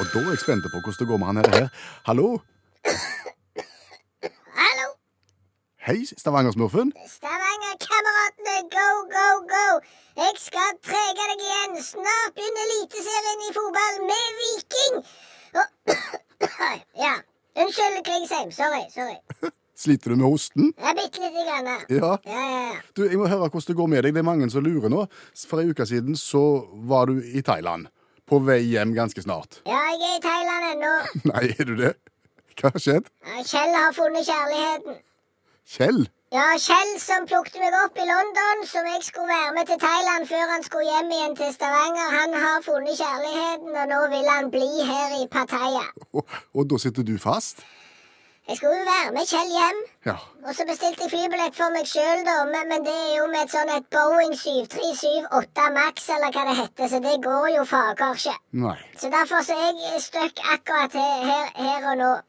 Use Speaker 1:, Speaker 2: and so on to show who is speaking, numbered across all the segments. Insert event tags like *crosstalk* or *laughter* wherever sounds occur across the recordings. Speaker 1: Og da er jeg spent på hvordan det går med han her. her. Hallo?
Speaker 2: Hallo,
Speaker 1: Hei, Stavanger-smurfen.
Speaker 2: Stavanger-kameratene, go, go, go! Jeg skal trege deg igjen. Snart begynner Eliteserien i fotball med Viking. Og *coughs* Ja. Unnskyld, Krigsheim. Sorry. sorry.
Speaker 1: Sliter du med hosten?
Speaker 2: Det er bitte lite grann. her.
Speaker 1: Ja.
Speaker 2: Ja, ja, ja.
Speaker 1: Du, Jeg må høre hvordan det går med deg. Det er mange som lurer nå. For ei uke siden så var du i Thailand. På vei hjem ganske snart. *laughs*
Speaker 2: Ja, jeg er i Thailand ennå.
Speaker 1: Nei, er du det? Hva har skjedd?
Speaker 2: Ja, Kjell har funnet kjærligheten.
Speaker 1: Kjell?
Speaker 2: Ja, Kjell som plukket meg opp i London, som jeg skulle være med til Thailand før han skulle hjem igjen til Stavanger, han har funnet kjærligheten, og nå vil han bli her i Pattaya.
Speaker 1: Og, og da sitter du fast?
Speaker 2: Jeg skulle jo være med Kjell hjem,
Speaker 1: Ja.
Speaker 2: og så bestilte jeg flybillett for meg sjøl, da, men, men det er jo med et sånn et Boeing 7378 Max, eller hva det heter, så det går jo fager ikke.
Speaker 1: Nei. *laughs*
Speaker 2: Så derfor så er jeg stuck akkurat he- her, her og nå. *coughs*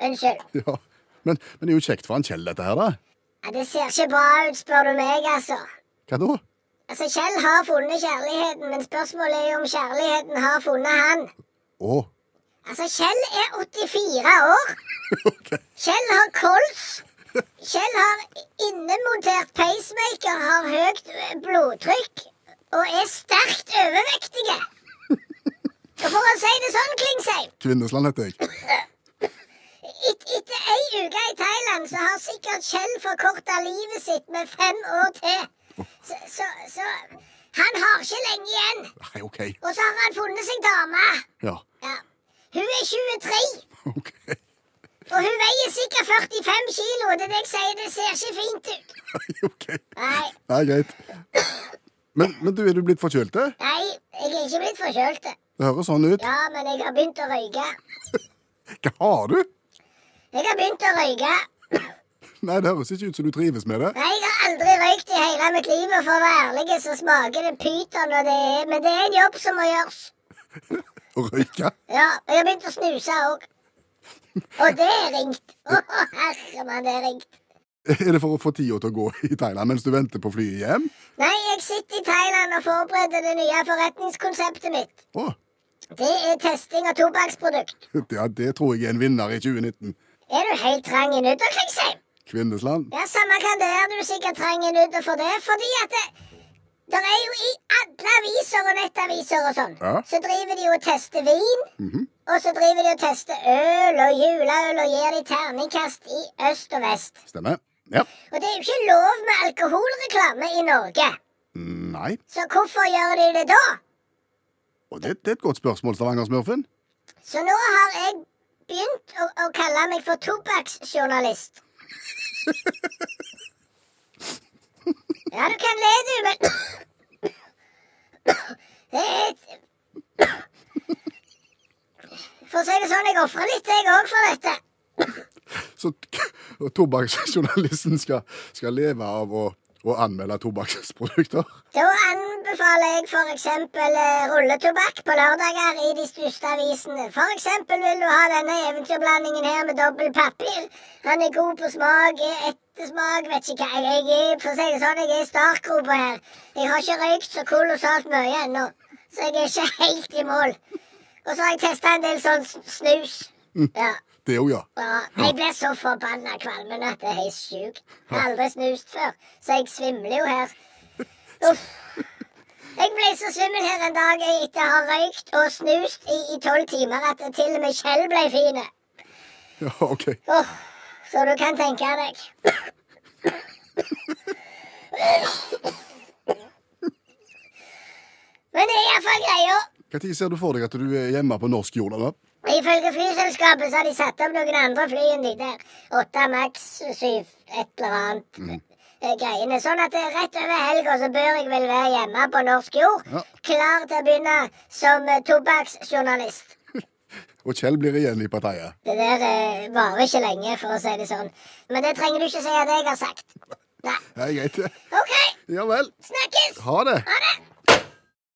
Speaker 2: Unnskyld.
Speaker 1: Ja. Men, men det er jo kjekt for han Kjell, dette her, da.
Speaker 2: Ja, det ser ikke bra ut, spør du meg, altså.
Speaker 1: Hva da?
Speaker 2: Altså, Kjell har funnet kjærligheten, men spørsmålet er jo om kjærligheten har funnet han.
Speaker 1: Å.
Speaker 2: Altså, Kjell er 84 år.
Speaker 1: Ok.
Speaker 2: Kjell har kols. Kjell har innemontert pacemaker, har høyt eh, blodtrykk og er sterkt overvektige. Og for å si det sånn, Klingsheim,
Speaker 1: Kvinnesland heter jeg.
Speaker 2: et, etter ei uke i Thailand så har sikkert Kjell forkorta livet sitt med fem år til. Så, så, så han har ikke lenge igjen.
Speaker 1: Nei, OK.
Speaker 2: Og så har han funnet seg dame.
Speaker 1: Ja. *laughs*
Speaker 2: Ja. Hun er 23.
Speaker 1: OK.
Speaker 2: Og hun veier sikkert 45 kilo. Det er det jeg sier, det ser ikke fint ut.
Speaker 1: Nei, ok.
Speaker 2: Nei,
Speaker 1: Nei, greit. Men, men du, er du blitt forkjølt? det?
Speaker 2: nei, jeg er ikke blitt forkjølt.
Speaker 1: Det høres sånn ut.
Speaker 2: Ja, men jeg har begynt å røyke.
Speaker 1: Hva har du?
Speaker 2: Jeg har begynt å røyke.
Speaker 1: Nei, det høres ikke ut som du trives med det.
Speaker 2: Nei, jeg har aldri røykt i hele mitt liv, og for å være ærlig så smaker det pyton, og det er Men det er en jobb som må gjøres.
Speaker 1: Å røyke.
Speaker 2: Ja, og jeg har begynt å snuse òg. Og det er ringt. Å, herre mann, det er ringt.
Speaker 1: Er det for å få tida til å gå i Thailand mens du venter på flyet hjem?
Speaker 2: Nei, jeg sitter i Thailand og forbereder det nye forretningskonseptet mitt.
Speaker 1: Å,
Speaker 2: Det er testing av tobakksprodukt.
Speaker 1: ja, det tror jeg er en vinner i 2019.
Speaker 2: Er du helt trang i nudda, Klingsheim?
Speaker 1: Kvinnesland.
Speaker 2: Ja, samme kan det være, du er sikkert trang i nudda for det. Fordi at det, der er jo i alle aviser og nettaviser og sånn,
Speaker 1: Ja.
Speaker 2: så driver de jo og tester vin. Og så driver de og tester øl og juleøl og gir de terningkast i øst og vest.
Speaker 1: Stemmer. Ja.
Speaker 2: Og det er jo ikke lov med alkoholreklame i Norge.
Speaker 1: Nei.
Speaker 2: Så hvorfor gjør de det da?
Speaker 1: Og det, det er et godt spørsmål, Stavanger-smurfen.
Speaker 2: Så nå har jeg begynt å, å kalle meg for tobakksjournalist. Ja, du kan le, du, men Det er et For å si det sånn, jeg ofrer litt, jeg òg, for dette.
Speaker 1: Så t- og tobakksjournalisten skal, skal leve av å, å anmelde tobakksprodukter.
Speaker 2: Da anbefaler jeg for eksempel eh, rulletobakk på lørdager i de største avisene. For eksempel vil du ha denne eventyrblandingen her med dobbelt papir. Han er god på smak, er ettersmak, vet ikke hva jeg er. For å si det sånn, jeg er i startgropa her. Jeg har ikke røykt så kolossalt mye ennå, så jeg er ikke *laughs* helt i mål. Og så har jeg testa en del sånn s- snus. Ja.
Speaker 1: Det òg, ja.
Speaker 2: Ja, jeg blir så forbanna kvalmen at det er helt sjukt. Jeg har aldri snust før, så jeg svimler jo her. Uff. Jeg ble så svimmel her en dag etter å ha røykt og snust i i tolv timer at til og med Kjell ble fin.
Speaker 1: ja OK.
Speaker 2: Åh, så du kan tenke deg. Men det er iallfall greia.
Speaker 1: Når ser du for deg at du er hjemme på norsk jord? Eller?
Speaker 2: Ifølge flyselskapet så har de satt opp noen andre fly enn de der. Åtte maks syv, et eller annet.
Speaker 1: Mhm.
Speaker 2: eh, Greiene. Sånn at eh, rett over helga så bør jeg vel være hjemme på norsk jord.
Speaker 1: Ja.
Speaker 2: Klar til å begynne som eh, tobakksjournalist.
Speaker 1: Og Kjell blir igjen i partiet.
Speaker 2: Det der eh, varer ikke lenge, for å si det sånn. Men det trenger du ikke si at jeg har sagt. Nei.
Speaker 1: Det er greit.
Speaker 2: OK,
Speaker 1: Ja vel.
Speaker 2: snakkes!
Speaker 1: Ha det.
Speaker 2: Ha det!